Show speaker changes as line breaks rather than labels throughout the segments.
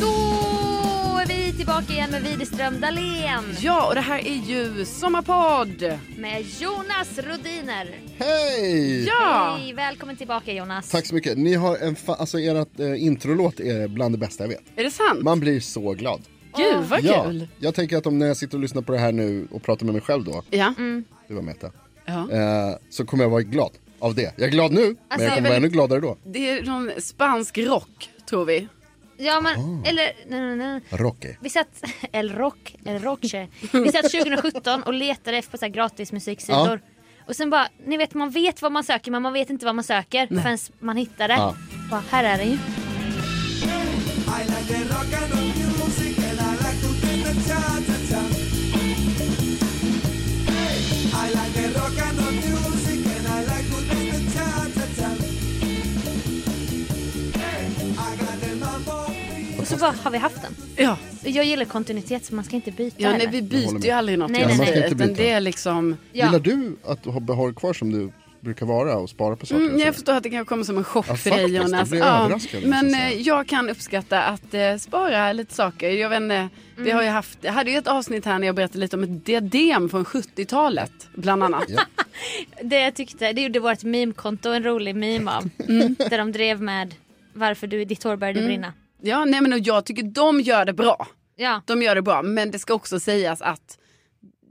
Då är vi tillbaka igen med Widerström Dahlén
Ja, och det här är ju Sommarpodd!
med Jonas Rodiner.
Hej!
Ja!
Hej, välkommen tillbaka Jonas.
Tack så mycket. Ni har en fa- alltså ert eh, introlåt är bland det bästa jag vet.
Är det sant?
Man blir så glad.
Gud vad
ja,
kul!
jag tänker att om när jag sitter och lyssnar på det här nu och pratar med mig själv då,
Ja.
du var Meta,
Ja.
eh, så kommer jag vara glad av det. Jag är glad nu,
Alltså,
men
det
jag
är
kommer
väl-
vara ännu gladare då.
Det är någon spansk rock, tror vi.
Ja men,
Ah.
eller nej, nej, nej.
Rocky.
Vi satt, El Rock, El Roche. Vi satt 2017 och letade efter så här gratis musiksidor. Och sen bara, ni vet man vet vad man söker men man vet inte vad man söker förrän man hittar det.
Ja.
Bara, här är den ju. Och så bara, har vi haft den?
Ja,
Jag gillar kontinuitet så man ska inte byta
ja nej,
heller.
vi
Jag håller
byter
med.
ju aldrig något.
Nej,
just
nej,
nu,
nej. Man
ska inte
Utan
byta.
det är liksom...
Ja.
Gillar du att ha behåll kvar som du brukar vara och spara på saker?
Mm,
och så?
jag förstår att det kanske kommer som en chock
Ja,
för dig
faktiskt.
Jonas.
Jag blev överraskad, måste
Men
jag säga.
eh, jag kan uppskatta att eh, spara lite saker. Jag vet inte, vi har ju haft, jag hade ju ett avsnitt här när jag berättade lite om ett diadem från 70-talet bland annat.
Det jag tyckte, det gjorde vårt meme-konto en rolig meme av.
Mm.
Där de drev med varför du, ditt hår började brinna.
Ja, nej men och jag tycker de gör det bra.
Ja,
De gör det bra, men det ska också sägas att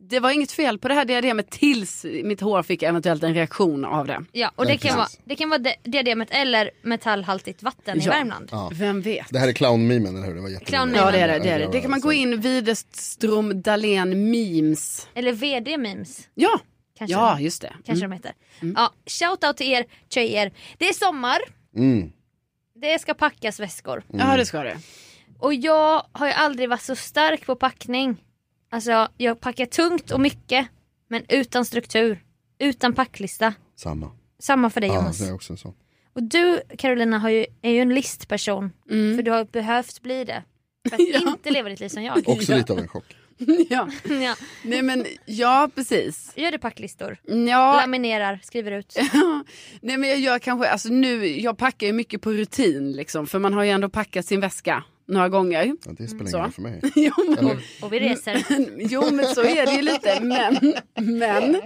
det var inget fel på det här diademet tills mitt hår fick eventuellt en reaktion av det.
ja. och
Ja,
det kan, vara,
precis.
det kan vara di- diademet eller metallhaltigt vatten i
Ja.
Värmland.
Ja.
Vem vet?
Det här är clownmimen, eller hur? Det var jätteroligt.
Clownmimen.
Ja det är det, det är det.
var
Det kan man gå
så-
in, Widerström Dahlén memes.
Eller VD-memes
Ja,
kanske,
ja Mm. just det.
kanske de heter. Ja, shoutout till er tjejer. Det är sommar,
Mm.
det ska packas väskor.
Mm. Ja det ska det.
Och jag har ju aldrig varit så stark på packning. Alltså jag packar tungt och mycket men utan struktur. Utan packlista.
Samma.
Samma för dig
Ja,
Jonas.
det är också en sån.
Och du Carolina har ju, är ju en listperson.
Mm.
För du har behövt bli det. För att inte leva ditt liv som jag.
Också lite av en chock.
Ja.
ja.
Nej men ja precis.
Gör du packlistor?
Ja,
Laminerar, skriver ut.
nej men jag gör kanske, alltså nu, jag packar ju mycket på rutin liksom för man har ju ändå packat sin väska några gånger.
Ja, det spelar
Mm,
ingen
Så.
roll för mig.
Jo men,
Eller?
Och vi reser.
jo men så är det ju lite, men, men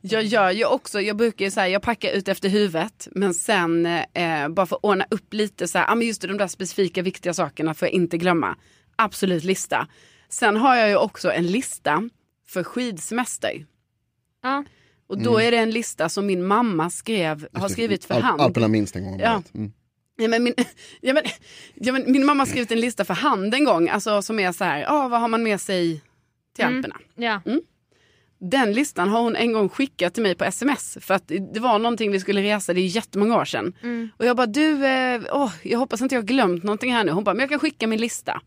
jag gör ju också, jag brukar ju så här, jag packar ut efter huvudet men sen eh, bara för att ordna upp lite så här, ah, men just det, de där specifika viktiga sakerna får jag inte glömma. absolut lista. Sen har jag ju också en lista för skidsemester.
Ja.
Och då är det en lista som min mamma skrev, har skrivit för
Al-
hand.
Alperna minst en gång om
Ja.
året. Mm.
Ja, men min, ja, men, ja, men, min mamma har skrivit en lista för hand en gång, alltså, som är så här, ah, vad har man med sig till Alperna?
Ja.
Mm. Den listan har hon en gång skickat till mig på sms för att det var någonting vi skulle resa, det är jättemånga år sedan.
Mm.
Och jag bara, du, eh, åh, jag hoppas inte jag har glömt någonting här nu. Hon bara, men jag kan skicka min lista.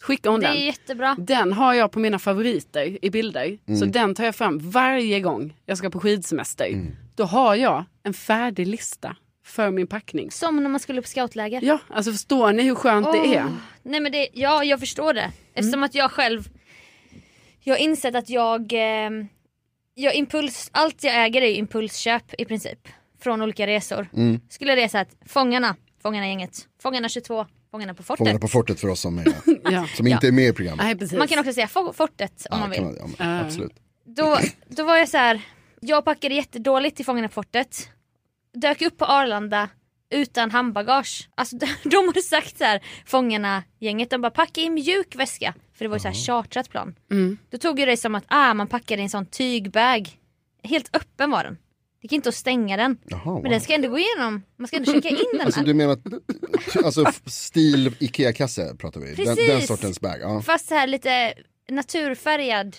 Skickar hon
Det är
den.
jättebra.
Den har jag på mina favoriter i bilder. Så den tar jag fram varje gång jag ska på skidsemester. Då har jag en färdig lista för min packning.
Som när man skulle på scoutläger.
Ja, alltså förstår ni hur skönt det är?
Åh, Nej men det, ja jag förstår det. Eftersom
Mm.
att jag själv, jag har insett att jag, eh, jag impuls, allt jag äger är ju impulsköp i princip. Från olika resor.
Mm.
Skulle resa att Fångarna, Fångarna-gänget, Fångarna 22, Fångarna på fortet.
Fångarna på fortet för oss som, är,
Ja.
som inte är med i programmet.
Nej, precis.
Man kan också säga Få- fortet om
Ja,
man vill.
kan man- ja, men Absolut.
då, då var jag så här. jag packade jättedåligt till Fångarna på fortet. Dök upp på Arlanda utan handbagage. Alltså de- de hade sagt så här, fångarna gänget, de bara packa i mjuk väska. För det var ju så här chartrat plan.
Mm.
Då tog ju det som att ah, man packade i en sån tygbag. Helt öppen var den. Det gick inte att stänga den.
Jaha, wow.
Men den ska ändå gå igenom, man ska ändå checka in den.
Alltså
här.
du menar att- alltså, f- stil Ikea-kasse pratar vi. Den,
Precis.
den sortens bag. Ja.
Fast så här lite naturfärgad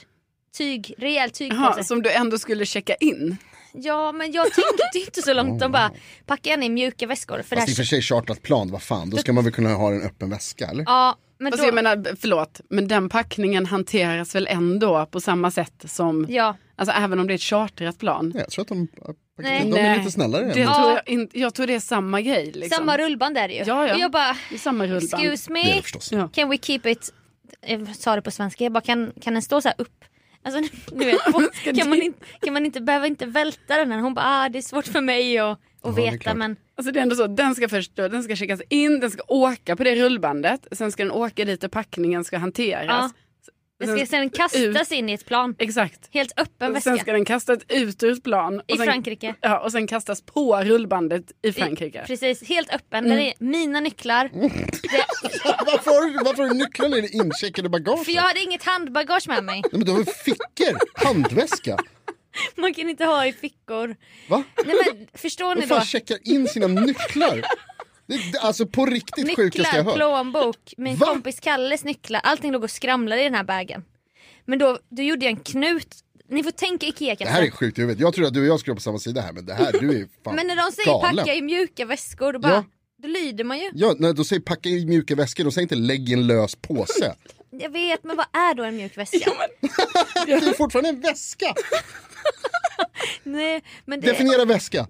tyg, rejäl tygpåse.
Jaha, som du ändå skulle checka in.
Ja men jag tänkte inte så långt. De bara packar in i mjuka väskor. För det
Fast i och för
här...
sig chartrat plan, vad fan, då ska man väl kunna ha en öppen väska eller?
Ja men
Fast
då...
Alltså, jag menar, förlåt, men den packningen hanteras väl ändå på samma sätt som,
Ja.
alltså även om det är ett chartrat plan.
Nej, jag tror att de, äh,
Nej.
de är lite snällare.
Det
än-
tror jag, inte, jag tror det är samma grej. Liksom.
Samma rullband är det ju.
Ja, ja.
Och jag bara
Det är samma rullband.
excuse
Det är
me
det förstås.
Ja.
can we keep it. Jag sa det på svenska. Jag bara kan, kan den stå så här upp. Alltså ni vet, på, kan, man inte, kan man inte behöva inte välta den här? Hon bara ah, det är svårt för mig att, att
det är
veta
klart.
men
Alltså det är ändå så, den ska först då, den ska checkas in, den ska åka på det rullbandet, sen ska den åka dit där packningen ska
ja.
hanteras.
Den ska sen kastas in i ett plan.
Exakt.
Helt öppen
Sen
väska.
ska den kastas ut ur ett plan. och
I
sen,
Frankrike.
Ja, och sen kastas på rullbandet i Frankrike. Mm.
Precis, helt öppen. Den är mina nycklar.
Mm. Varför, har du- varför har du nycklarna i det incheckade bagaget?
För jag hade inget handbagage med mig.
Nej, men du har ju fickor, handväska.
Man kan inte ha i fickor.
Va?
Nej men förstår ni
Vem
då?
fan checkar in sina nycklar? Det, det, alltså på riktigt sjukaste jag
Nycklar,
hört.
plånbok, min
Va?
kompis Kalles nycklar, allting låg och skramlade i den här bagen. Men då, då gjorde jag en knut, ni får tänka Ikea
Det här är
kanske.
sjukt i huvudet. Jag tror att du och jag skulle vara på samma sida här men det här, du är fan
Men när de säger
galen.
packa i mjuka väskor, då, bara,
Ja.
då lyder man ju.
Ja, när de säger packa i mjuka väskor, de säger inte lägg i en lös påse.
Jag vet, men vad är då en mjuk väska?
Det är fortfarande en väska!
nej, men det,
Definiera väska.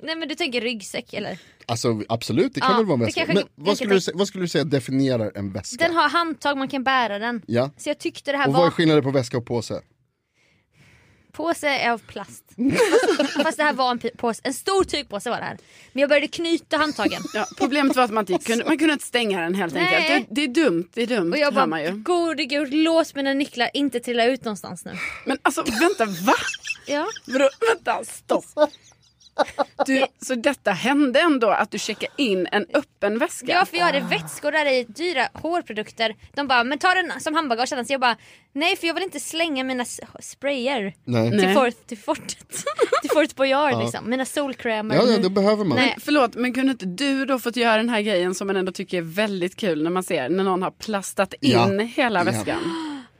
nej men du tänker ryggsäck eller?
Alltså absolut, det kan
Ja,
väl vara en
det
väska.
kanske-
Men
kanske
vad skulle, du,
tänk-
sä- vad skulle du säga definierar en väska?
Den har handtag, man kan bära den.
Ja.
Så jag tyckte det här
Och
var...
vad är skillnaden på väska och påse?
Påse är av plast. Fast, fast det här var en pi- påse, en stor tygpåse var det här. Men jag började knyta handtagen.
Ja, problemet var att man, inte kunde, man kunde inte stänga den helt
Nej.
enkelt. Det, det är dumt, det är dumt
Och jag
hör man
bara,
ju.
gode gud låt mina nycklar inte trilla ut någonstans nu.
Men alltså vänta, va?
Ja.
Vadå, vänta, stopp. Du, så detta hände ändå att du checkade in en öppen väska?
Ja för jag hade vätskor där i, dyra hårprodukter. De bara, men ta den som handbagage annars. Jag bara, nej för jag vill inte slänga mina s- sprayer
Nej.
till,
Nej.
fort, till fortet. till Fort Boyard liksom. Mina solkrämer.
Ja, ja, det behöver man.
Nej.
Förlåt, men kunde inte du då fått göra den här grejen som man ändå tycker är väldigt kul när man ser när någon har plastat in
Ja.
hela
Ja.
väskan?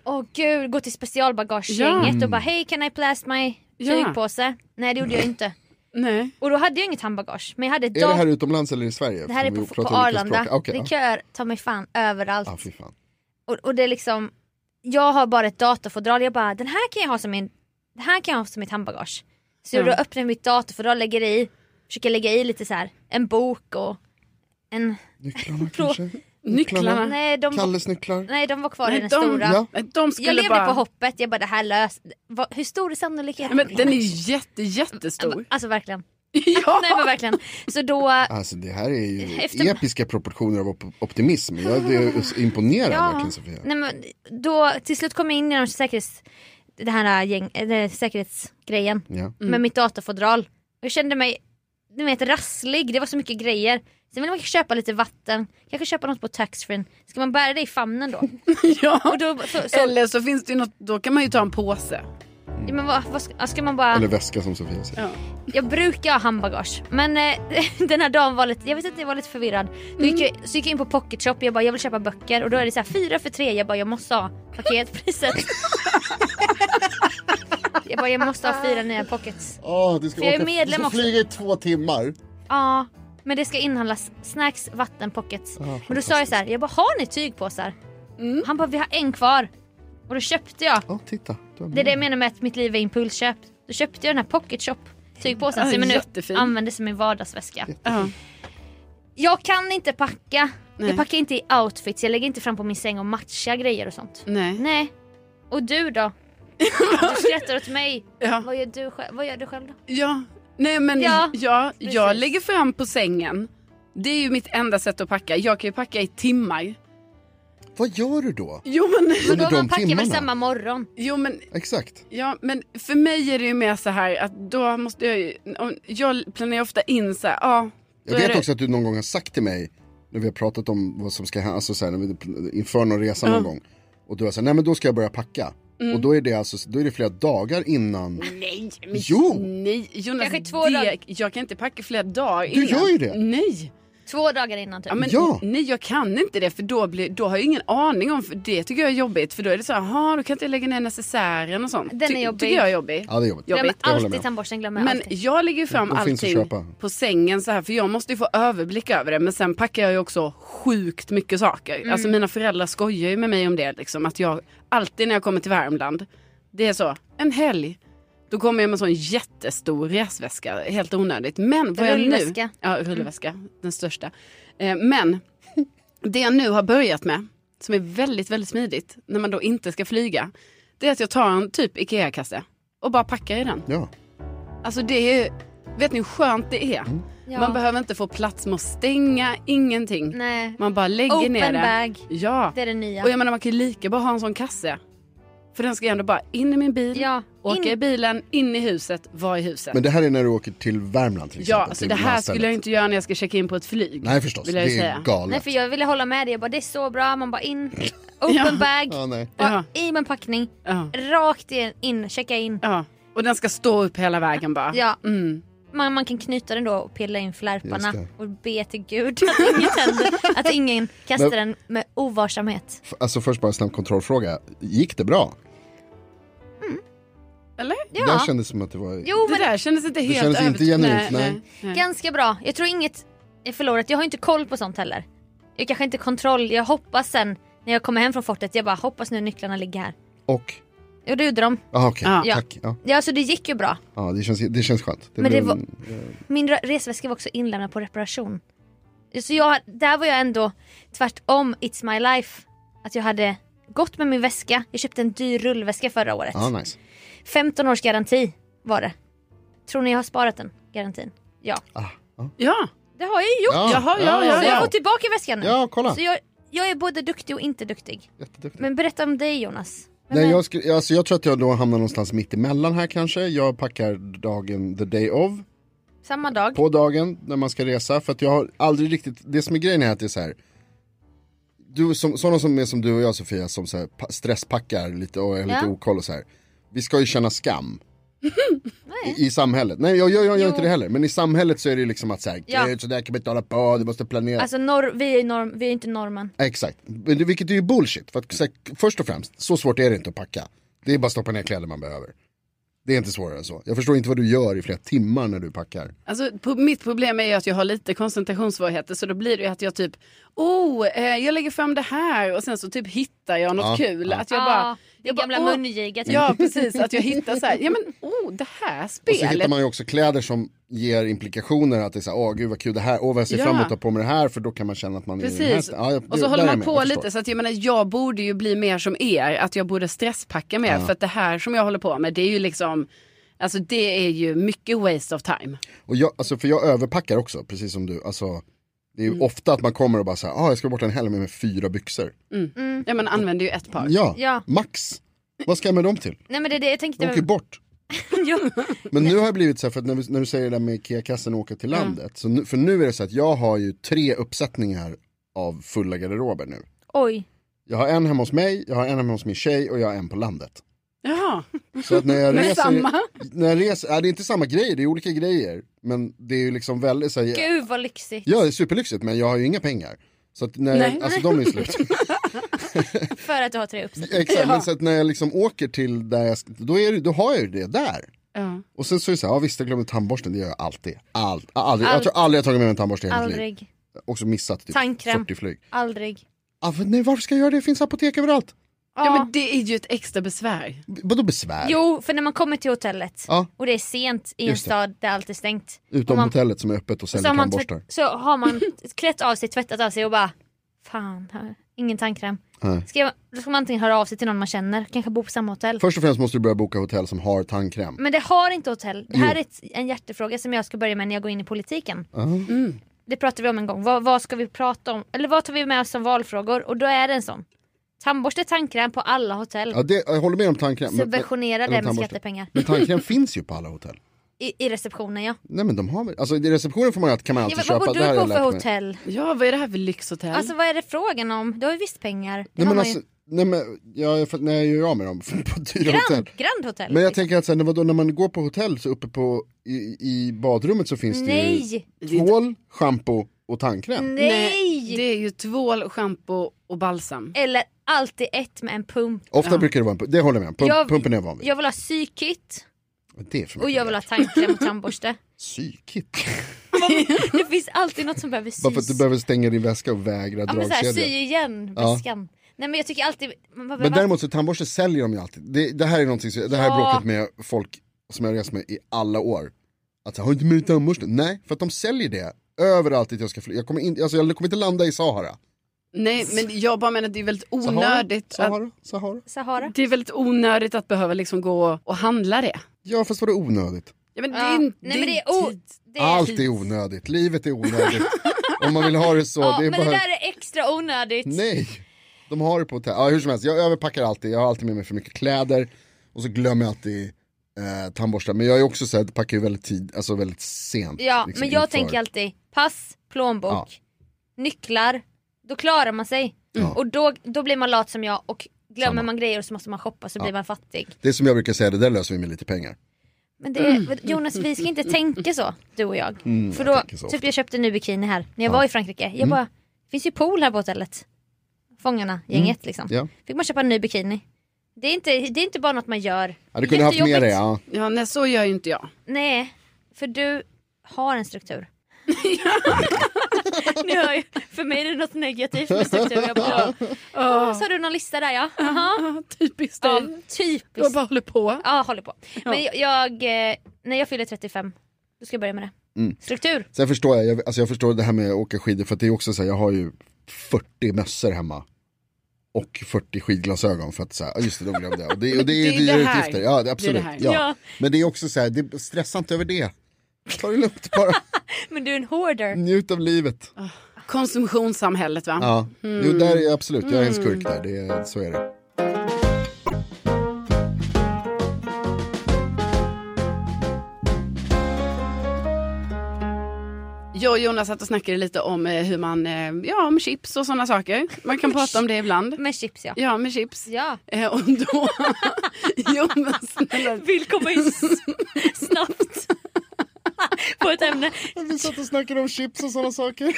Åh gud, gå till specialbagagegänget och bara, hej can I plast my
Ja.
tygpåse? Nej det gjorde jag inte.
Nej.
Och då hade jag inget handbagage. Men jag hade
Är det här utomlands eller i Sverige?
Det här är
Eftersom
på,
vi
på
pratar olika
Arlanda.
språk. Okej,
det är
ja.
köer ta mig fan överallt.
Ja, fy fan.
och, och det är liksom, jag har bara ett datorfodral. Jag bara, den här kan jag ha som min, den här kan jag ha som mitt handbagage. Så
Mm.
då öppnar jag mitt datorfodral, lägger i, försöker lägga i lite så här, en bok och en,
Nycklarna
Förlåt.
kanske?
Nycklarna.
nej de,
Kalles nycklar?
nej de var kvar i
Nej,
den
de,
stora.
Ja.
nej, de skulle
Jag levde
bara...
på hoppet, jag bara det här lös, vad, hur stor är sannolikheten?
Men den är jätte, jättestor.
Alltså verkligen.
Ja.
Nej men verkligen. Så då,
Alltså det här är ju
Efter-
episka proportioner av op- optimism. Jag är imponerad
Ja.
verkligen Sofia.
Nej, men då, till slut kom jag in i de säkerhets, det här äh, gäng, eller säkerhetsgrejen
Ja. Mm.
med mitt datafodral. Jag kände mig du vet, rasslig, det var så mycket grejer. Sen vill man köpa lite vatten, kanske köpa något på taxfree. Ska man bära det i famnen då?
ja.
Och då så, så,
Eller så finns det ju något, då kan man ju ta en påse.
ja, men vad, vad ska, ska man bara...
Eller väska som Sofia säger.
Ja.
Jag brukar ha handbagage men eh, den här dagen var lite, jag vet inte jag var lite förvirrad. Då gick
Mm.
jag, så gick jag in på pocket shop jag bara jag vill köpa böcker och då är det så här fyra för tre jag bara jag måste ha paketpriset. jag bara jag måste ha fyra nya pockets.
Åh, du ska,
För jag är
åka,
medlem
du ska
också.
flyga i två timmar.
Ja men det ska inhandlas snacks, vatten, pockets. men då sa jag så här jag bara har ni tygpåsar?
Mm.
Han bara vi har en kvar. Och då köpte jag.
Ja, titta. Du har
Det är det jag menar med att mitt liv är impulsköp. Då köpte jag den här pocket shop tygpåsen
Ja,
som jag nu
jättefin.
använder som min vardagsväska.
Ja.
Jag kan inte packa.
Nej.
Jag packar inte i outfits, jag lägger inte fram på min säng och matchar grejer och sånt.
Nej.
Nej. Och du då? Du skrattar åt mig.
Ja.
Vad, gör du själv? Vad gör du själv då?
Ja, nej men
Ja,
ja, ja, jag
precis.
lägger fram på sängen. Det är ju mitt enda sätt att packa. Jag kan ju packa i timmar.
Vad gör du då?
Jo men,
Men
Under
då
de
man packar väl
timmarna?
samma morgon?
jo, men,
Exakt.
ja, men för mig är det ju mer så här att då måste jag ju, om- jag planerar ju ofta in så här, ja. då
Jag
är
vet
det-
också att du någon gång har sagt till mig, när vi har pratat om vad som ska hända, alltså så här, när vi, inför någon resa någon gång. Och du har sagt, nej men då ska jag börja packa.
Mm.
Och då är, det alltså, då är det flera dagar innan.
Nej, men
Jo.
nej Jonas,
Kanske två dagar.
det, jag kan inte packa flera dagar
Du gör ju det.
Nej.
Två dagar innan typ.
Ja, men,
Ja.
Nej, jag kan inte det för då, blir, då har jag ingen aning om, för det tycker jag är jobbigt. För då är det så här, "Jaha, då kan inte jag lägga ner necessären och sånt.
Den är jobbig.
Tycker jag är jobbig.
Ja det är jobbigt.
Ja,
Glöm
jobbigt,
jag håller
alltid
med.
tandborsten, glömmer
Men
alltid.
jag lägger ju fram
De finns att
allting
köpa.
på sängen så här för jag måste ju få överblick över det. Men sen packar jag ju också sjukt mycket saker.
Mm.
Alltså mina föräldrar skojar ju med mig om det liksom. Att jag alltid när jag kommer till Värmland, det är så, en helg. Då kommer jag med en sån jättestor resväska, helt onödigt. Men vad jag nu...
Rullväska. Mm.
Ja, rullväska. Den största. Eh, men det jag nu har börjat med, som är väldigt, väldigt smidigt, när man då inte ska flyga, det är att jag tar en typ IKEA-kasse och bara packar i den.
Ja.
Alltså det är, vet ni hur skönt det är?
Mm.
Ja.
Man behöver inte få plats med att stänga, ingenting.
Nej.
Man bara lägger
Open
ner det.
bag.
Ja.
Det är det nya.
Och jag menar man kan ju lika bara ha en sån kasse. För den ska ju ändå bara in i min bil,
Ja,
åka
in-
i bilen, in i huset, vara i huset.
Men det här är när du åker till Värmland till
ja,
exempel.
alltså
till
det här
landstället.
skulle jag inte göra när jag ska checka in på ett flyg.
Nej förstås,
vill
det
jag ju
är
säga.
galet.
Nej för jag ville hålla med dig, jag bara det är så bra, man bara in, open
Ja.
bag,
Ja, nej.
bara
Ja.
i med en packning,
Ja.
rakt in- in, checka in.
ja. Och den ska stå upp hela vägen
Ah.
bara.
Ja.
Mm.
Man, man kan knyta den då och pilla in
Just
flärparna
det.
och be till gud att ingen, händer, att ingen kastar
Men-
den med ovarsamhet.
F- Alltså först bara en snabb kontrollfråga. Gick det bra?
Eller?
Ja,
Det här kändes som att det var...
jo
Det
men
där Mm. kändes inte helt
kändes inte
övertygande.
genuint, nej.
ganska bra. Jag tror inget är förlorat, jag har inte koll på sånt heller. Jag kanske inte kontroll, jag hoppas sen när jag kommer hem från fortet, jag bara hoppas nu nycklarna ligger här.
Och?
Och det gjorde de.
Ah, okej,
Ja.
tack. Ja.
Ja, alltså det gick ju bra.
Ja, det, känns, det känns skönt.
Men
blev
det
en-
Min re- resväska var också inlämnad på reparation. Så jag, där var jag ändå tvärtom It's My Life. Att jag hade gått med min väska. Jag köpte en dyr rullväska förra året.
Ja, Ah, nice.
15 års garanti var det. Tror ni jag har sparat den garantin? Ja,
Ja.
det har jag ju gjort.
Jaha, ja, typ- ja,
Så jag
ja.
får tillbaka väskan nu.
Ja, kolla.
Så jag, jag är både duktig och inte duktig.
Jätteduktig.
Men berätta om dig Jonas. Vem
Nej,
är-
jag, skulle, alltså, jag tror att jag då hamnar någonstans mitt emellan här kanske. Jag packar dagen the day of.
Samma dag.
På dagen när man ska resa. För att jag har aldrig riktigt, det som är grejen är att det är så här. Du, som, sådana som är som du och jag Sofia som så här, pa- stresspackar lite och är lite
Ja.
okoll och så här. Vi ska ju känna skam. I, I samhället. Nej jag gör jag, gör
Jo.
inte det heller. Men i samhället så är det liksom att så här,
Ja.
"Gud, så där kan vi inte hålla på, du måste planera.
Alltså norr, vi, är norm, vi är inte norrmän.
Exakt, Men det- vilket är ju bullshit. För att, så här, först och främst, så svårt är det inte att packa. Det är bara att stoppa ner kläder man behöver. Det är inte svårare än så. Jag förstår inte vad du gör i flera timmar när du packar.
Alltså, på, mitt problem är ju att jag har lite koncentrationssvårigheter så då blir det ju att jag typ, oh, eh, jag lägger fram det här och sen så typ hittar jag något
Ja,
kul.
ja.
Att jag
Ja,
bara,
det
jag bara,
gamla
"Åh."
mungiget.
Ja, precis. Att jag hittar så här, ja men oh, det här
Och så hittar
spelet.
man ju också kläder som ger implikationer att det är så här, åh gud vad kul det här, åh vad jag ser
Ja.
fram emot att ha på mig det här för då kan man känna att man är i den här
Precis.
stä- Ja, jag-
och
det-
så håller
där är
man
jag med.
på
Jag
lite
förstår.
så att jag menar jag borde ju bli mer som er, att jag borde stresspacka mer för att det här som jag håller på med det är ju liksom, alltså det är ju mycket waste of time.
Och jag, alltså, för jag överpackar också, precis som du. Alltså, det är
Mm.
ju ofta att man kommer och bara så här, ah, jag ska bort en helg med, med fyra byxor.
Mm.
Ja man använder ju ett par.
Ja,
Ja.
max. Vad ska jag med dem till?
Nej men det är det jag tänkte.
De åker bort.
jo.
Men nu har jag blivit så här, för att när, vi, när du säger det där med IKEA-kassen och åka till landet. Så nu, för nu är det så att jag har ju tre uppsättningar av fulla garderober nu.
Oj.
Jag har en hemma hos mig, jag har en hemma hos min tjej och jag har en på landet.
Jaha.
Så att när jag
Men
reser,
samma?
När jag reser, ja, det är inte samma grejer, det är olika grejer. Men det är ju liksom väldigt så här,
Gud vad lyxigt.
ja det är superlyxigt men jag har ju inga pengar. Så att när
Nej.
jag, alltså de är slut.
För att du har tre uppsättningar.
Exakt, men så att när jag liksom åker till där jag, ska- då, är det, då har jag ju det där.
Ja.
Och sen så är det så här, ja visst jag glömde tandborsten, det gör jag alltid. Allt, aldrig, jag tror aldrig jag har tagit med mig en tandborste i hela mitt liv.
Aldrig.
Också missat typ
Tandkräm.
40 flyg.
Aldrig.
Ah, för, nej varför ska jag göra det, det finns apotek överallt.
ja men det är ju ett extra besvär.
B- Vadå besvär?
Jo, för när man kommer till hotellet
Ja.
och det är sent i en
Just det.
stad där allt är stängt.
Utom
Och man-
hotellet som är öppet och
så,
säljer
har man
tandborstar.
tvätt, så har man klätt av sig, tvättat av sig och bara Fan, här, ingen tandkräm.
Nej.
Ska jag, då ska man antingen höra av sig till någon man känner, kanske bo på samma hotell.
Först och främst måste du börja boka hotell som har tandkräm.
Men det har inte hotell. Det här är ett, en hjärtefråga som jag ska börja med när jag går in i politiken. Det pratade vi om en gång. Vad, vad ska vi prata om? Eller vad tar vi med oss som valfrågor? Och då är det en sån. Tandborste, tandkräm på alla hotell.
Ja, det, jag håller med om tandkräm. men-
Subventionera
men-
det med
tandborste.
skattepengar.
Men tandkräm finns ju på alla hotell.
I, I receptionen ja.
Nej men de har väl, alltså i receptionen får man, kan man alltid
ja
köpa.
vad bor
det
du
här har jag
på för
lärt mig.
hotell?
Ja vad är det här för lyxhotell?
Alltså vad är det frågan om? Du har ju visst pengar. Det
Nej
har
men
man
alltså,
ju.
nej men jag, för, nej, jag gör av med dem på dyra hotell.
Grand, grand hotell.
Men jag
liksom.
tänker att sen, vadå, när man går på hotell så uppe på, i, i badrummet så finns
Nej!
det ju tvål, schampo och tandkräm.
Nej!
Det är ju tvål, schampo och balsam.
Eller alltid ett med en pump.
Ofta brukar det vara en pump, det håller jag med om, pump,
Jag-
pumpen är jag van vid.
Jag vill ha psykit
det är för
och
mycket
jag vill ha
begärt.
tandkräm och tandborste.
Psykigt.
det finns alltid något som behöver sys.
Bara för att du behöver stänga din väska och vägra
ja, men så här, sy
dragkedjan.
igen
Ja.
väskan. Nej men jag tycker alltid... Man behöver...
Men däremot så tandborste säljer de ju alltid. Det, det här är någonting, som- det här
Ja.
är bråket med folk som jag har rest med i alla år. Att jag har du inte med dig tandborste? Nej, för att de säljer det överallt dit jag ska flyga. Jag kommer, in, alltså, jag kommer inte landa i Sahara.
Nej men jag bara menar att det är väldigt onödigt.
Sahara,
Att,
Sahara, Sahara.
Sahara.
det är väldigt onödigt att behöva liksom gå och handla det.
Ja fast var det onödigt?
Ja, men det
Ja.
är,
Nej
inte-
men det är...
inte-
O... Det är...
Allt är onödigt, livet är onödigt. Om man vill ha det så.
Ja,
det är
men
bara...
det där är extra onödigt.
Nej, de har det på hotell. Ja, hur som helst, jag överpackar alltid, jag har alltid med mig för mycket kläder och så glömmer jag alltid eh, tandborstar. Men jag är också så här, packar ju väldigt, tid, alltså väldigt sent.
Ja,
liksom,
men jag
inför.
tänker alltid pass, plånbok,
Ja.
nycklar. Då klarar man sig. Och då, då blir man lat som jag och glömmer
Samma.
man grejer så måste man shoppa så blir man fattig.
Det är som jag brukar säga, det där löser vi med lite pengar.
Men det
Mm.
är, Jonas vi ska inte tänka så du och jag. För då,
tänker så
typ
ofta. Mm.
jag köpte en ny bikini här när jag var i Frankrike. Jag bara, det finns ju pool här på hotellet. Fångarna, gänget liksom.
Mm. Ja.
Fick man köpa en ny bikini. Det är inte, det är inte bara något man gör.
Ja, du kunde haft med
Jättejobbigt.
dig, ja.
Ja, nej, så gör ju inte jag.
Nej, för du har en struktur. Ni hör ju, för mig är det något negativt med struktur. Jag bara, "Åh, så har du någon lista där ja. Aha.
Ja, typiskt
Ja,
dig. Du
typiskt.
bara håller på.
Ja, håller på. Men jag, jag, eh, när jag fyller 35, då ska jag börja med det. Struktur.
Sen förstår jag, jag, alltså jag förstår det här med att åka skidor för att det är också så här, jag har ju 40 mössor hemma. Och 40 skidglasögon för att säga, just det, de glömde jag. Och det, och det är
Men det
dyra
är det här.
utgifter. Ja, det,
Det
absolut.
är det här.
ja.
Ja.
Men det är också så här, det, stressa inte över det. Ta det lugnt bara,
Men du är en hoarder.
njut av livet.
Konsumtionssamhället va?
Ja,
Mm.
jo, där är jag absolut, jag är en skurk där, det, är- så är det.
Jag och Jonas satt och snackade lite om eh, hur man, eh, ja om chips och sådana saker. Man kan prata om det ibland.
Med chips ja.
Ja, med chips.
Ja.
Eh, och då... jo men snälla.
Vill komma in s- snabbt. På ett ämne.
Vi satt och snackade om chips och sådana saker.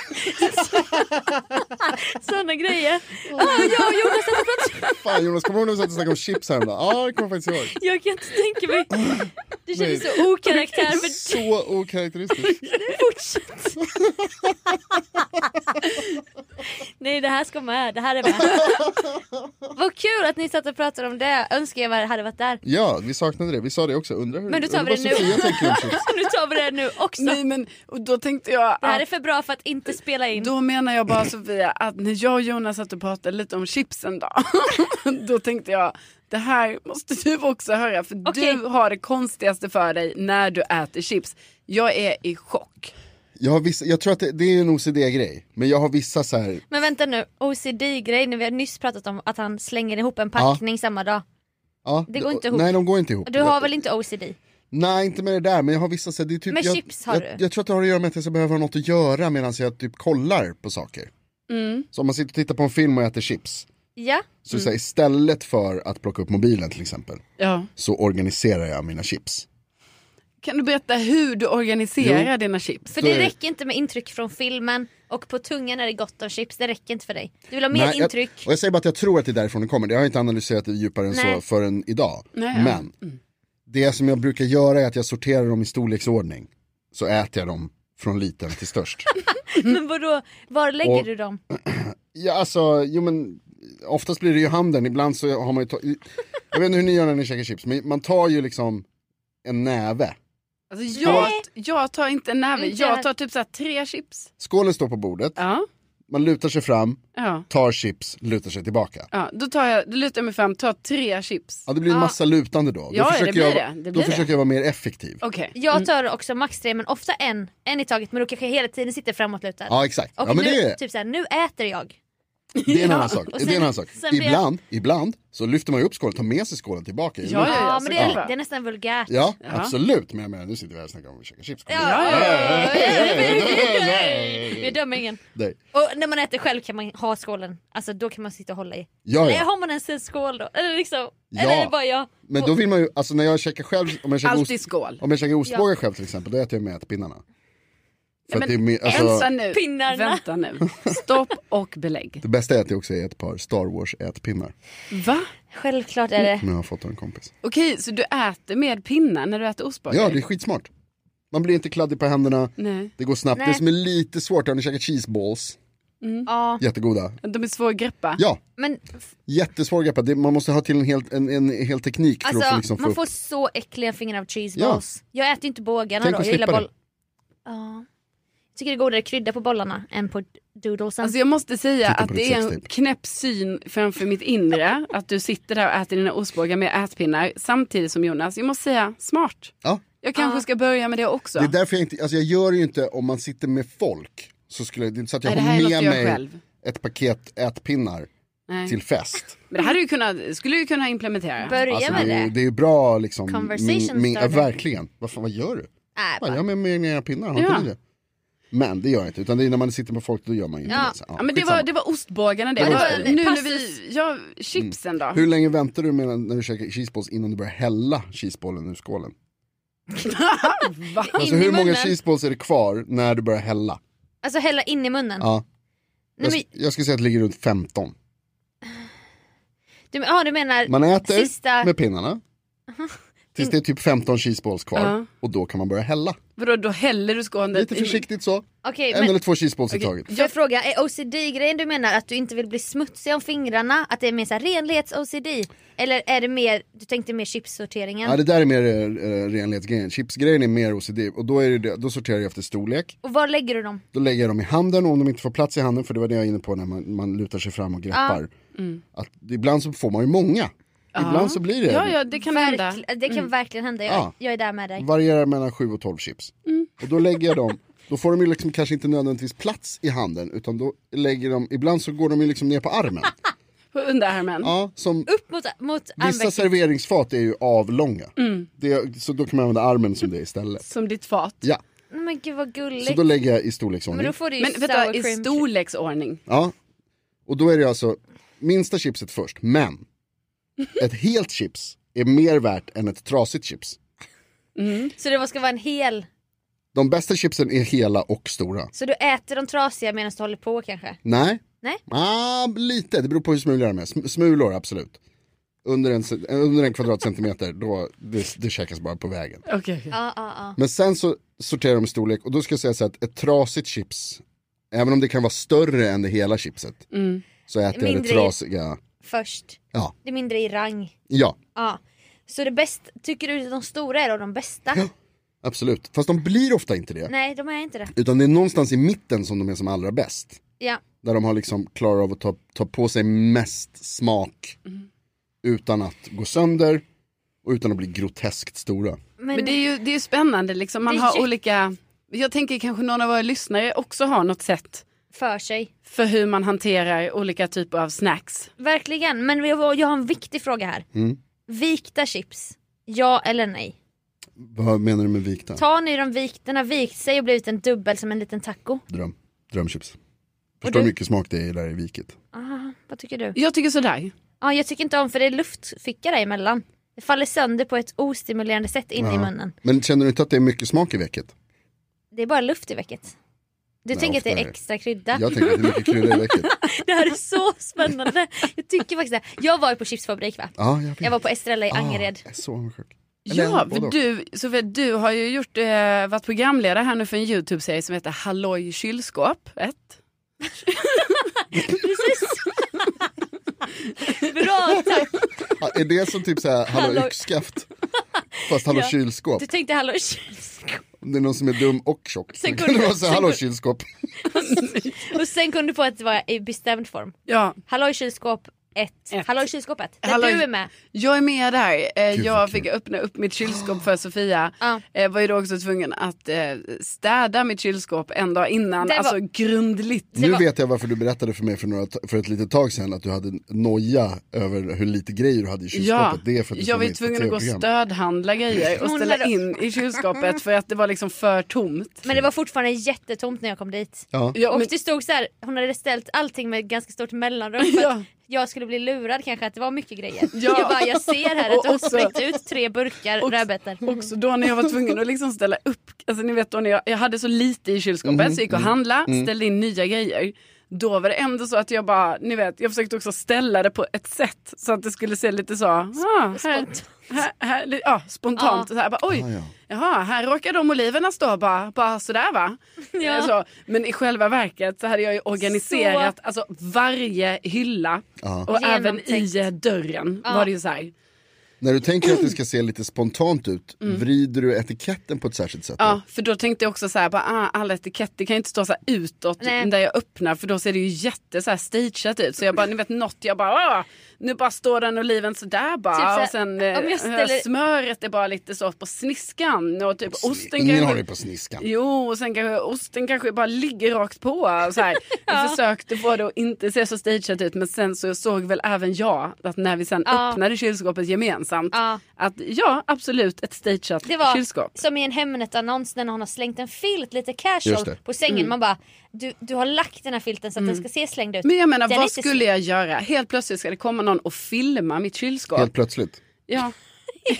Sådana grejer. Ah, jag och Jonas satt och pratade
Fan Jonas, kommer du ihåg när vi satt och snackade om chips häromdagen? Ja, det kommer jag faktiskt ihåg.
Jag kan inte tänka mig. Du känner
Nej.
så okaraktär för
Så okaraktäristiskt.
fortsätt. Nej det här ska med, det här är med. Vad kul att ni satt och pratade om det, önskar jag var- hade varit där.
Ja, vi saknade det. Vi sa det också. Undrar hur
Men då tar vi
vad
det nu.
Sofia tänker om chips.
Nu tar vi det nu också.
Nej men och då tänkte jag
Det här är
att,
för bra för att inte spela in.
då menar jag bara Sofia att när jag och Jonas satt och pratade lite om chips en dag. då tänkte jag det här måste du också höra för
Okej.
du har det konstigaste för dig när du äter chips. Jag är i chock.
Jag, har vissa, jag tror att det, det är en OCD-grej, men jag har vissa så här,
Men vänta nu, OCD-grej, när vi har nyss pratat om att han slänger ihop en packning samma dag.
Ja,
Det går inte ihop.
Nej, de går inte ihop.
Du har väl inte OCD?
Nej, inte med det där, men jag har vissa... så här, Det är typ,
Med
jag,
chips har
jag,
du.
Jag tror att det har att göra med att jag behöver ha något att göra medan jag typ kollar på saker.
Mm.
Så om man sitter och tittar på en film och äter chips,
Ja.
så, så här, istället för att plocka upp mobilen till exempel,
Ja.
så organiserar jag mina chips.
Kan du berätta hur du organiserar dina chips?
För
Så är
det
det.
räcker inte med intryck från filmen och på tungan är det gott av chips. Det räcker inte för dig. Du vill ha mer
Nej,
intryck.
Jag, och jag säger bara att jag tror att det är därifrån det kommer. Jag har inte analyserat det djupare än
Nej.
så förrän idag.
Nej, ja.
Men det som jag brukar göra är att jag sorterar dem i storleksordning. Så äter jag dem från liten till störst.
Men vadå, var lägger
Och-
du dem?
ja, alltså, jo men oftast blir det ju handen. Ibland så har man ju... Ta... Jag vet inte hur ni gör när ni käkar chips, men man tar ju liksom en näve.
Alltså, jag, jag tar inte en näve,
Inte
jag
jag.
tar typ så här tre chips.
Skålen står på bordet,
Ja.
man lutar sig fram,
Ja.
tar chips, lutar sig tillbaka.
Ja, då tar jag, då lutar jag mig fram, tar tre chips.
Ja, det blir en massa lutande då. då
Ja, det
försöker,
blir
jag,
det. Det
då
blir
försöker
det.
jag vara mer effektiv.
Okej.
Jag tar också max tre men ofta en. En i taget men då kanske jag hela tiden sitter framåtlutad.
Ja, exakt.
Och
ja, men
nu,
det är...
typ såhär, nu äter jag.
Det är en annan sak.
och
det
sen-
är en annan sak.
sen blir jag-
Ibland, ibland så lyfter man ju upp skålen, tar med sig skålen tillbaka. i
Ja,
munnen.
Ja,
ja,
men
så
det
kan
är,
det vara.
det är nästan vulgärt.
ja, absolut. Men jag menar, nu sitter vi här och snackar om att käka chips. Kom igen.
Vi dömer ingen.
Nej.
Och när man äter själv kan man ha skålen. Alltså då kan man sitta och hålla i.
Ja,
Eller
ja.
har man ens en skål då? Eller liksom,
Ja.
eller är det bara jag?
Men då vill man ju, alltså när jag käkar själv, om jag käkar,
Alltid
ost,
skål.
om jag käkar ostbågar själv till exempel, då äter jag med ätpinnarna. För att det, är, mer-
Vänta
alltså,
nu.
Pinnarna.
Vänta nu. Stopp och belägg.
det bästa är att jag också är ett par Star Wars ätpinnar.
Va?
Självklart är det.
Som jag har fått av en kompis.
Okej, så du äter med pinnar när du äter ostbågar?
Ja, det är skitsmart. Man blir inte kladdig på händerna,
Nej.
det går snabbt.
Nej.
Det som är lite svårt är om ni käkar cheeseballs, Mm.
Ja.
jättegoda.
De är svåra att greppa.
Ja,
Men
Jättesvår greppa, det, man måste ha till en hel, en, en hel teknik för
alltså
att liksom få
man
upp.
får så äckliga fingrar av cheeseballs. Jag äter ju inte bågarna
Tänk
då,
att
jag gillar
slippa
boll.
det.
Ja. Jag tycker det är godare krydda på bollarna än på doodlesen.
Alltså jag måste säga
Titta på
att
ditt
det är en
sextape.
knäpp syn framför mitt inre att du sitter där och äter dina ostbågar med ätpinnar samtidigt som Jonas. Jag måste säga, smart.
Ja.
Jag kanske ska börja med det också.
Det är därför jag inte, alltså jag gör ju inte om man sitter med folk, så skulle jag, det är inte så att jag
Nej, det här
har
är något
med
jag gör
mig
själv.
ett paket ätpinnar
Nej.
till fest.
Men det hade du kunnat, skulle du kunna implementera.
Börja
Alltså
med
det, är-
det. Äh,
det är ju bra liksom,
Conversation
min, min, ja,
starter.
verkligen. Vad fan, vad gör du?
Nej,
Fan,
bara-
jag har med mig mina pinnar, har inte
Ja.
ni det? Men det gör jag inte, utan det är när man sitter med folk, då gör man ju inte det. Så, ja,
Ja, men det
skitsamma.
var, det var ostbågarna det.
Det var
Vad-
ostbågarna.
nu när
Passus.
vi, ja, chipsen då.
Hur länge väntar du med när du käkar cheeseballs innan du börjar hälla cheeseballen ur skålen?
Va?
Alltså
In i
hur många
munnen.
cheeseballs är det kvar när du börjar hälla?
Alltså hälla in i munnen.
Ja. alltså-
Nej, men,
jag, sk- jag skulle säga att det ligger runt 15.
du, ja, du menar
Man äter
sista...
med pinnarna. Tills det är typ 15 cheeseballs kvar
Ja.
och då kan man börja hälla.
Vadå, då häller du skålen
Lite
i-
försiktigt så.
Okej,
en
men-
eller två cheeseballs i taget.
Jag frågar, är OCD-grejen du menar att du inte vill bli smutsig om fingrarna? Att det är mer så här renlighets-OCD? Eller är det mer, du tänkte mer chipssorteringen?
Ja, det där är mer äh, renlighetsgrejen. Chipsgrejen är mer OCD och då, är det det, då sorterar jag efter storlek.
Och var lägger du dem?
Då lägger jag dem i handen och om de inte får plats i handen, för det var det jag var inne på när man, man lutar sig fram och greppar. Att ibland så får man ju många. Ibland så blir det.
Ah, mm. Ja, ja, det kan hända. Mm.
Verkl- det kan verkligen hända, jag,
Ja.
jag är där med dig.
varierar mellan 7 och 12 chips.
Mm.
Och då lägger jag dem, då får de ju liksom kanske inte nödvändigtvis plats i handen utan då lägger de, ibland så går de ju liksom ner på armen.
På underarmen.
Ja, som
Upp mot, mot
vissa
armvecket.
serveringsfat är ju avlånga.
Mm.
Det, så då kan man använda armen som det istället.
Som ditt fat.
Ja,
Nej, Men gud vad gulligt.
så då lägger jag i
Men
storleksordning.
då får du ju
Men vänta,
sour
i
cream.
storleksordning.
Ja, och då är det alltså minsta chipset först, men ett helt chips är mer värt än ett trasigt chips.
Så det ska vara en hel.
De bästa chipsen är hela och stora.
Så du äter de trasiga medan du håller på kanske?
Nej,
Nej?
Ah, lite, det beror på hur smulor de är. Sm- Smulor, absolut. Under en, se- under en kvadratcentimeter, då, det, det käkas bara på vägen.
Okej.
Ja, ja, ja.
Men sen så sorterar de i storlek och då ska jag säga så här att ett trasigt chips, även om det kan vara större än det hela chipset, så äter jag det
Mm. Mindre i-
trasiga.
Först.
Ja,
Det är mindre i rang.
ja,
Ja. Så det bästa, tycker du att de stora är då de bästa?
absolut. Fast de blir ofta inte det.
Nej, de är inte det.
Utan det är någonstans i mitten som de är som allra bäst.
Ja.
Där de har liksom klarat av att ta, ta på sig mest smak
Mm.
utan att gå sönder och utan att bli groteskt stora.
Men,
Men det är ju det är ju spännande liksom. Man
Det är
har
jätte-
olika... Jag tänker kanske någon av våra lyssnare också har något sätt
för sig.
för hur man hanterar olika typer av snacks.
Mm.
Verkligen. Men jag, jag har en viktig fråga här. Vikta chips, ja eller nej?
Vad menar du med vikta?
Tar ni dem vikt, den har vikt sig och blivit en dubbel som en liten taco?
Dröm. Drömchips. Förstår hur
du?
mycket smak det är där i viket.
Ah, vad tycker du?
Jag tycker sådär.
Ja, jag tycker inte om för det är luftficka där emellan. Det faller sönder på ett ostimulerande sätt in i munnen.
Men känner du inte att det är mycket smak i veket?
Det är bara luft i vecket. Du
Nej,
tänker att det är
oftare.
extra krydda.
Jag tänker att det är mycket krydda i veket.
Det här är så spännande. Jag tycker faktiskt det. Jag var ju på chipsfabrik va?
Ja, jag, vet.
Jag var på Estrella i Angered.
Ah, jag är så avundsjuk. Eller,
Ja,
både
för
och.
du, Sofia, du har ju gjort, eh, varit programledare här nu för en YouTube-serie som heter Halloj kylskåp. Ett.
Bra tack!
Ah, är det som typ såhär hallå
Hallå.
yxskaft? Fast hallå
Ja.
kylskåp.
Du tänkte hallå kylskåp.
Om det är någon som är dum och tjock.
Sen
Sen
går
kan det
du-
vara såhär
sen
hallå
går-
kylskåp.
Och sen kom du på att det var i bestämd form.
Ja,
Hallå kylskåp 1.
Ett.
Hallå kylskåpet. Där
Hallå-
du är med.
jag är med där. Eh,
Gud, vad
jag
kul.
fick öppna upp mitt kylskåp för Sofia.
Ja.
Eh, var ju då också tvungen att eh, städa mitt kylskåp en dag innan.
Det var-
Alltså grundligt.
Nu
var-
vet jag varför du berättade för mig för, några, för ett litet tag sedan att du hade noja över hur lite grejer du hade i kylskåpet.
Ja,
Det är för att du
jag
såg
var ju
mitt
tvungen att gå och
TV-program.
stödhandla grejer och
Hon
ställa
hade-
in i kylskåpet för att det var liksom för tomt.
Men det var fortfarande jättetomt när jag kom dit.
Ja.
Ja,
och
men-
det stod så här, hon hade ställt allting med ganska stort mellanrum för
Ja.
att jag skulle bli lurad kanske att det var mycket grejer.
Ja.
Jag bara, jag ser här att
Och
du har
också-
släckt ut tre burkar
Och-
rödbetor.
Också då när jag var tvungen att liksom ställa upp, alltså ni vet då när jag, jag hade så lite i kylskåpet så jag gick och handla, ställde in nya grejer. Då var det ändå så att jag bara, ni vet, jag försökte också ställa det på ett sätt så att det skulle se lite så, ah, här, här, här, li- ja, spontant. Så här, bara, oj, jaha, här råkar de oliverna stå bara, bara sådär va?
Ja.
Eh, Så, men i själva verket så hade jag ju organiserat alltså, varje hylla och även i
Genomtänkt.
eh, dörren var det ju så här.
När du tänker att det ska se lite spontant ut, vrider du etiketten på ett särskilt sätt?
Mm. Ja, för då tänkte jag också så här, bara, ah, all etikett, det kan ju inte stå så här utåt
Nej.
där jag öppnar för då ser det ju jätte så här stageat ut. Så jag bara, ni vet något, jag bara, ah, nu bara står den oliven så där bara.
Typ så här,
och sen eh,
om jag ställer-
smöret är bara lite så på sniskan och typ osten
Ingen
kanske-
har det på sniskan.
Jo, och sen kanske osten kanske bara ligger rakt på. Så här. Jag försökte få det att inte se så stageat ut men sen så såg väl även jag att när vi sen
Ja.
öppnade kylskåpet gemensamt
Ja.
att ja, absolut ett stageat
Det var
kylskåp.
som i en Hemnet-annons när någon har slängt en filt lite
Just
casual
det.
på sängen.
Mm.
Man bara, du, du har lagt den här filten så att den ska se slängd ut.
Men jag menar,
Den är
vad
inte
skulle jag göra? Helt plötsligt ska det komma någon och filma mitt kylskåp.
Helt plötsligt.
ja.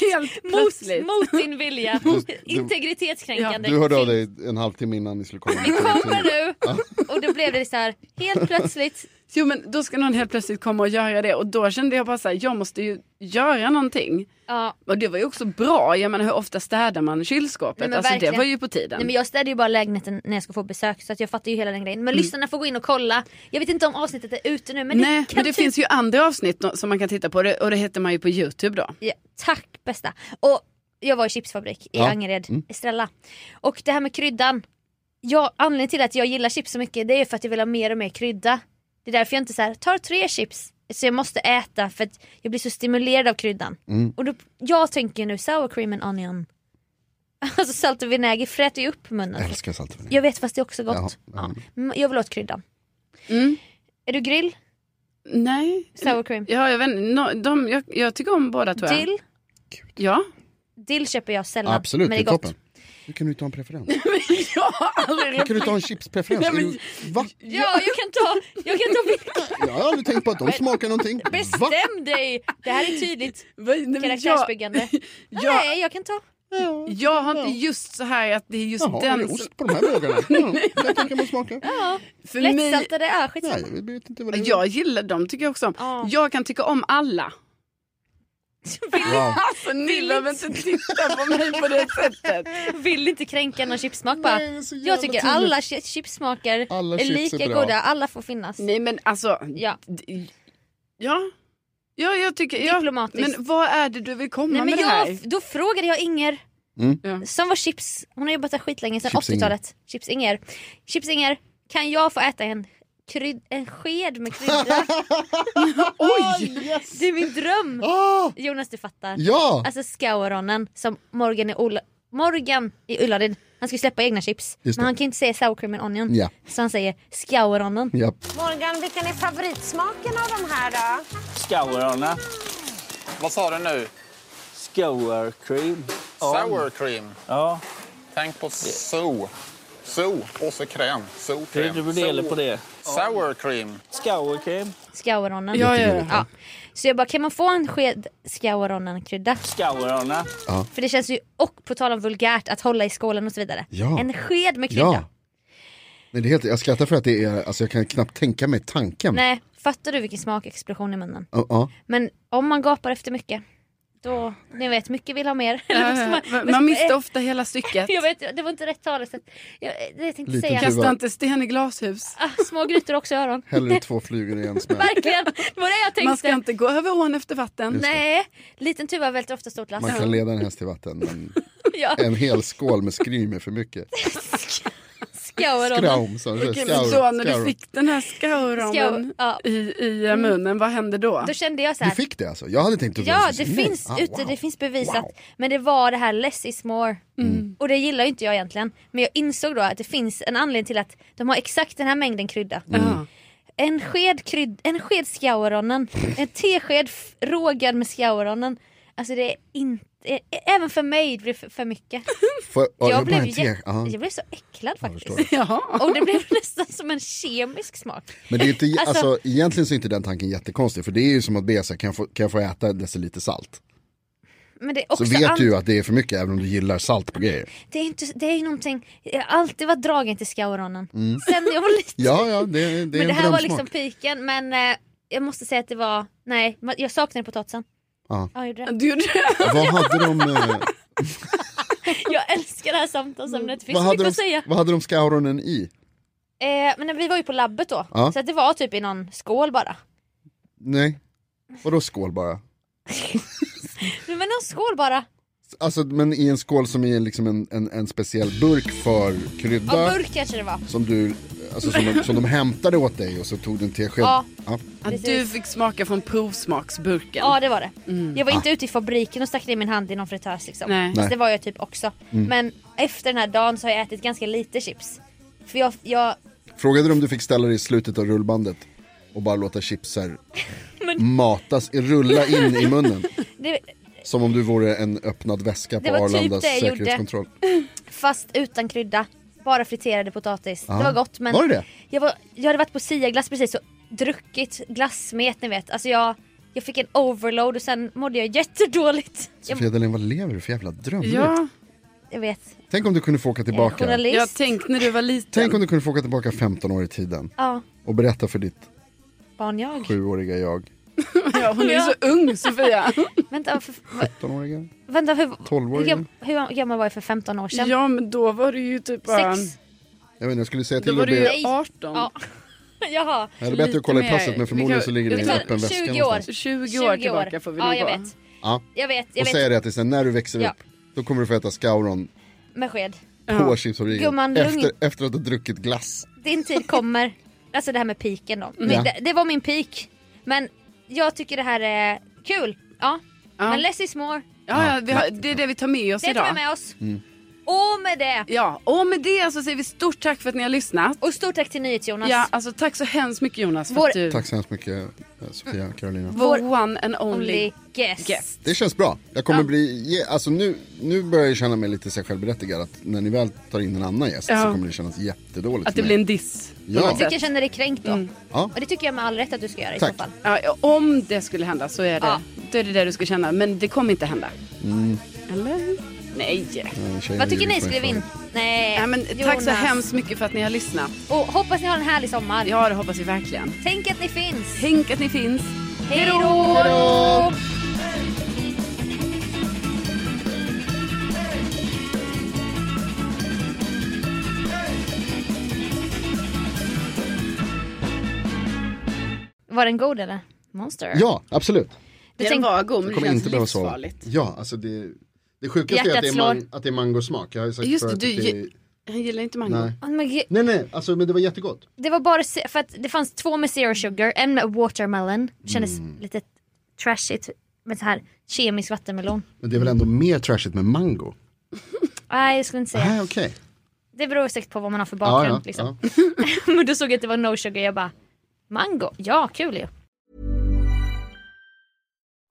Helt
släng-
plötsligt.
Mot, mot din vilja. Integritetskränkande.
Du hörde av
film.
dig en halvtimme innan ni skulle komma.
Vi kommer nu! Och då blev det så här, helt plötsligt.
Jo, men då ska någon helt plötsligt komma och göra det och då kände jag bara så här, jag måste ju göra någonting.
Ja.
Och det var ju också bra, jag menar hur ofta städar man kylskåpet?
Nej, men
alltså det
verkligen.
var ju på tiden.
Nej, men jag städar ju bara lägenheten när jag ska få besök så att jag fattar ju hela den grejen. Men lyssnarna får gå in och kolla. Jag vet inte om avsnittet är ute nu men
Mm. Nej,
det kan
men det
typ...
finns ju andra avsnitt då- som man kan titta på det- och det heter man ju på Youtube då.
Ja, tack bästa. Och jag var i chipsfabrik i
Ja.
Angered,
Mm.
Estrella. Och det här med kryddan. Jag, anledningen till att jag gillar chips så mycket det är för att jag vill ha mer och mer krydda. Det är därför jag inte så här, tar tre chips så jag måste äta för att jag blir så stimulerad av kryddan.
Mm.
Och då, jag tänker ju nu sour cream and onion. Alltså salt och vinäger fräter ju upp munnen.
Jag älskar salt och vinäger.
Jag vet fast det är också gott.
Jaha,
Ja. Mm, Jag vill åt kryddan.
Mm.
Är du grill?
Nej,
Sour cream?
ja, jag, vet, inte. no, de, jag, jag tycker om båda tror jag.
Dill?
Ja.
Dill köper jag sällan.
Absolut, det
men
är
det är gott.
toppen. Hur kan du inte ha en preferens?
jag har aldrig
Hur kan du inte ha en chipspreferens?
Nej, men-
Är du- Va?
Ja, jag kan ta, jag kan ta vilken
Jag har aldrig tänkt på att de smakar någonting. Va?
Bestäm dig! Det här är tydligt
Vad- nej, men
karaktärsbyggande.
Jag, jag,
Nej, jag kan ta.
jag har inte just så här att det är just
Jaha, är
den...
det ost på de här bågarna? Ja, jag tänker man smaka.
För mig,
Lättsaltade, ja
Nej,
skitsamma.
jag vet inte vad det är.
jag gillar dem, tycker jag också om.
Mm. Ja.
Jag kan tycka om alla.
Wow.
Alltså ni behöver inte titta på mig på det sättet.
Vill inte kränka någon chipssmak bara.
Nej, det är så jävla
Jag tycker
tydligt.
alla chi- chipssmaker
Alla
är
chips är
lika
bra.
goda, alla får finnas.
Nej men alltså,
Ja.
d- ja. Ja, jag tycker... Ja.
Diplomatiskt.
Men vad är det du vill komma
Nej, men
med det här?
jag, då frågade jag Inger
Mm.
Ja.
som var chips, hon har jobbat där skitlänge sedan
Chips-Inger.
80-talet. Chips Inger. Chips Inger, kan jag få äta en, kryd- en sked med krydda?
Oj! Yes.
det är min dröm!
Ah,
Jonas du fattar.
ja!
Alltså Scauronen som Morgan i, Ulla- Morgan i Ullared, han ska ju släppa egna chips.
Just det.
Men han kan ju inte säga sour cream and onion.
Ja.
Så han säger Scauronen.
ja.
Morgan, vilken är favoritsmaken av de här då?
Skallerna.
Vad sa du nu?
Scour cream.
Sour cream.
Ja,
Tänk på so. So och så kräm. So
det är
cream.
dubbeldelar
So-
på det.
Sour cream.
Scour cream.
Skauronen.
Ja, ja, ja.
Ja. Så jag bara, kan man få en sked skauronen-krydda?
Scourarna.
För det känns ju, och på tal om vulgärt, att hålla i skålen och så vidare.
Ja.
En sked med krydda.
Ja. Nej, det är helt, jag skrattar för att det är, alltså jag kan knappt tänka mig tanken.
Nej, fattar du vilken smakexplosion i munnen?
Ja, ja.
Men om man gapar efter mycket, då, ni vet, mycket vill ha mer. Eller vad ska
Man,
vad ska
man missar
eh,
ofta hela stycket.
Jag vet, det var inte rätt talesätt. Jag, eh, det jag tänkte
Liten
säga.
tuva.
Kasta inte sten i glashus.
Ah, små grytor också i öron.
Hellre två flugor i en smäll.
Verkligen, det var det jag tänkte.
Man ska inte gå över ån efter vatten.
Nej, liten tuva välter ofta stort lass.
Man kan leda en häst till vatten, men
Ja,
en hel skål med skrym är för mycket.
skauronen.
Skraum, sa du.
Okej,
Skaur,
men så när
skaur.
du fick den här skauronen
Skau- ja.
i, i eh, munnen, vad hände då?
Mm. Då kände jag så
Du
här.
fick det alltså? Jag hade tänkt att
Ja, det
skulle- Nej.
finns,
Ah,
ute,
wow.
det finns bevisat.
Wow. Mm.
Men det var det här less is more. Och det gillar ju inte jag egentligen. Men jag insåg då att det finns en anledning till att de har exakt den här mängden krydda.
Mm.
Ja.
En sked, krydd, en sked skauronen, en tesked f- rågad med skauronen. Alltså det är inte, ä- även för mig det blev för, för mycket.
Får, ja, det var
jag,
bara
blev
en te.
jä-
Ja.
jag blev så äcklad
förstår
faktiskt.
det.
Jaha.
Och det blev nästan som en kemisk smak.
Men det är inte,
Alltså-
alltså, egentligen så är inte den tanken jättekonstig, för det är ju som att be så här, kan jag få, kan jag få äta en deciliter salt?
Men det är
Så
också
vet
an-
du ju att det är för mycket även om du gillar salt på grejer.
Det är, inte, det är ju någonting, jag har alltid varit dragen till skauronen. Sen jag var liten.
Mm. Ja, ja, det, det är
men
en
det här var
drömsmak.
liksom piken men eh, jag måste säga att det var, nej ma- jag saknade potatisen.
Ja.
jag gjorde det.
Du gjorde det.
Vad hade de, eh,
Jag älskar det här samtalsämnet, det finns
vad
så
hade
mycket
de,
att säga.
vad hade de skauronen i?
Eh, men vi var ju på labbet då,
Ja.
så att det var typ i någon skål bara.
Nej, vadå skål bara?
Men någon skål bara,
Alltså, men i en skål som är liksom en, en, en speciell burk för
av
krydda.
burk kanske det var.
Som du, alltså som de, som de hämtade åt dig och så tog du en tesked.
Ja.
Ja.
Att du fick smaka från provsmaksburken.
Ja det var det. Jag var
Ah.
inte ute i fabriken och stack ner min hand i någon fritös liksom.
Nej.
Fast det var jag typ också.
Mm.
Men efter den här dagen så har jag ätit ganska lite chips. För jag, jag
Frågade du om du fick ställa dig i slutet av rullbandet och bara låta chipsar matas, rulla in i munnen.
det,
Som om du vore en öppnad väska på
Det var typ
Arlandas
det jag gjorde.
säkerhetskontroll.
Fast utan krydda. Bara friterade potatis. Det var gott men
Var det det?
Jag, var, jag hade varit på Siaglass precis och druckit glassmet ni vet. Alltså jag, jag fick en overload och sen mådde jag jättedåligt. Jag,
Sofia Dalén, vad lever du för jävla drömliv?
Ja,
jag vet.
Tänk om du kunde få åka
Jag är
tillbaka.
journalist.
jag tänkte när du var liten.
Tänk om du kunde få åka tillbaka 15 år i tiden
Ja,
och berätta för ditt
barn jag.
sjuåriga jag.
Ja, hon är ju så ung Sofia.
Vänta, för, va-
15-åriga?
vänta hur, hur,
Tolvåriga?
gam- hur gammal var jag för 15 år sedan?
Ja men då var du ju typ bara...
Sex?
Jag vet inte, jag skulle säga
Då
till
var
att
du
be...
ju 18.
Ja. Jaha.
Ja, det är bättre att kolla i
lite mer.
passet men
Vi
förmodligen
kan-
så ligger det i en
vi tar
öppen väska
20 år.
någonstans.
20 år
20 år.
tillbaka får vi
Ja
nog
jag
vara.
vet.
Ja.
Jag vet, jag
Och
vet.
säga det till sen, när du växer
Ja.
upp då kommer du få äta Scauron
Med sked.
på
Ja.
chipsfabriken
Gumman,
efter,
lugn.
efter att ha druckit glass.
din tid kommer. Alltså det här med piken då. Men
Ja.
Mm.
det, det var min peak. Men jag tycker det här är kul. Ja. Men less is more.
Ja, ja, vi har, det är det vi tar med oss
Det tar vi
idag.
med oss.
Mm.
Och med det.
Ja, och med det så säger vi stort tack för att ni har lyssnat.
Och stort tack till NyhetsJonas.
Ja, alltså tack så hemskt mycket Jonas för
Vår-
att du
Tack så hemskt mycket eh, Sofia och Carolina.
vår
Vår
one and only
Only guest.
guest.
Det känns bra. Jag kommer bli, ge- alltså nu, nu börjar jag känna mig lite så här självberättigad att när ni väl tar in en annan gäst
Ja.
så kommer det kännas jättedåligt
Att
för
det
mig.
blir en diss.
ja.
Jag tycker jag känner dig kränkt då.
Mm.
Ja.
Och det tycker jag med all rätt att du ska göra i
Tack.
så fall.
Ja, om det skulle hända så är det,
Ja.
då är det det du ska känna. Men det kommer inte hända.
Mm.
Eller? Nej.
Eh, tjejer
Vad tycker
ljuger
ni?
på
Skriv
inför.
in. Nej.
Ja, men, tack
Jonas.
så hemskt mycket för att ni har lyssnat.
Och hoppas ni har en härlig sommar.
Ja, det hoppas vi verkligen.
Tänk att ni finns.
Tänk att ni finns.
Hej då! Var den god eller? Monster?
Ja, absolut.
Du
Den
tänk-
var god, men
Jag
det
kommer
känns
inte behöva sova.
livsfarligt.
Ja, alltså det, det sjukaste är
Hjärtat
att det är, man, att det är mangosmak. Jag har ju sagt
Just det,
förut
du,
att det är...
ge- han gillar inte mango.
Nej.
Åh, men gud.
Nej, nej, alltså men det var jättegott.
Det var bara se- för att det fanns två med zero sugar, en med watermelon. Kändes
Mm.
lite trashigt med så här kemisk vattenmelon.
Men det är väl ändå mer trashigt med mango?
Nej jag skulle inte säga.
Nej, okej.
Det beror säkert på vad man har för
Ja,
bakgrund.
ja,
liksom.
ja.
Men då såg jag att det var no sugar. Jag bara, mango, ja kul ju.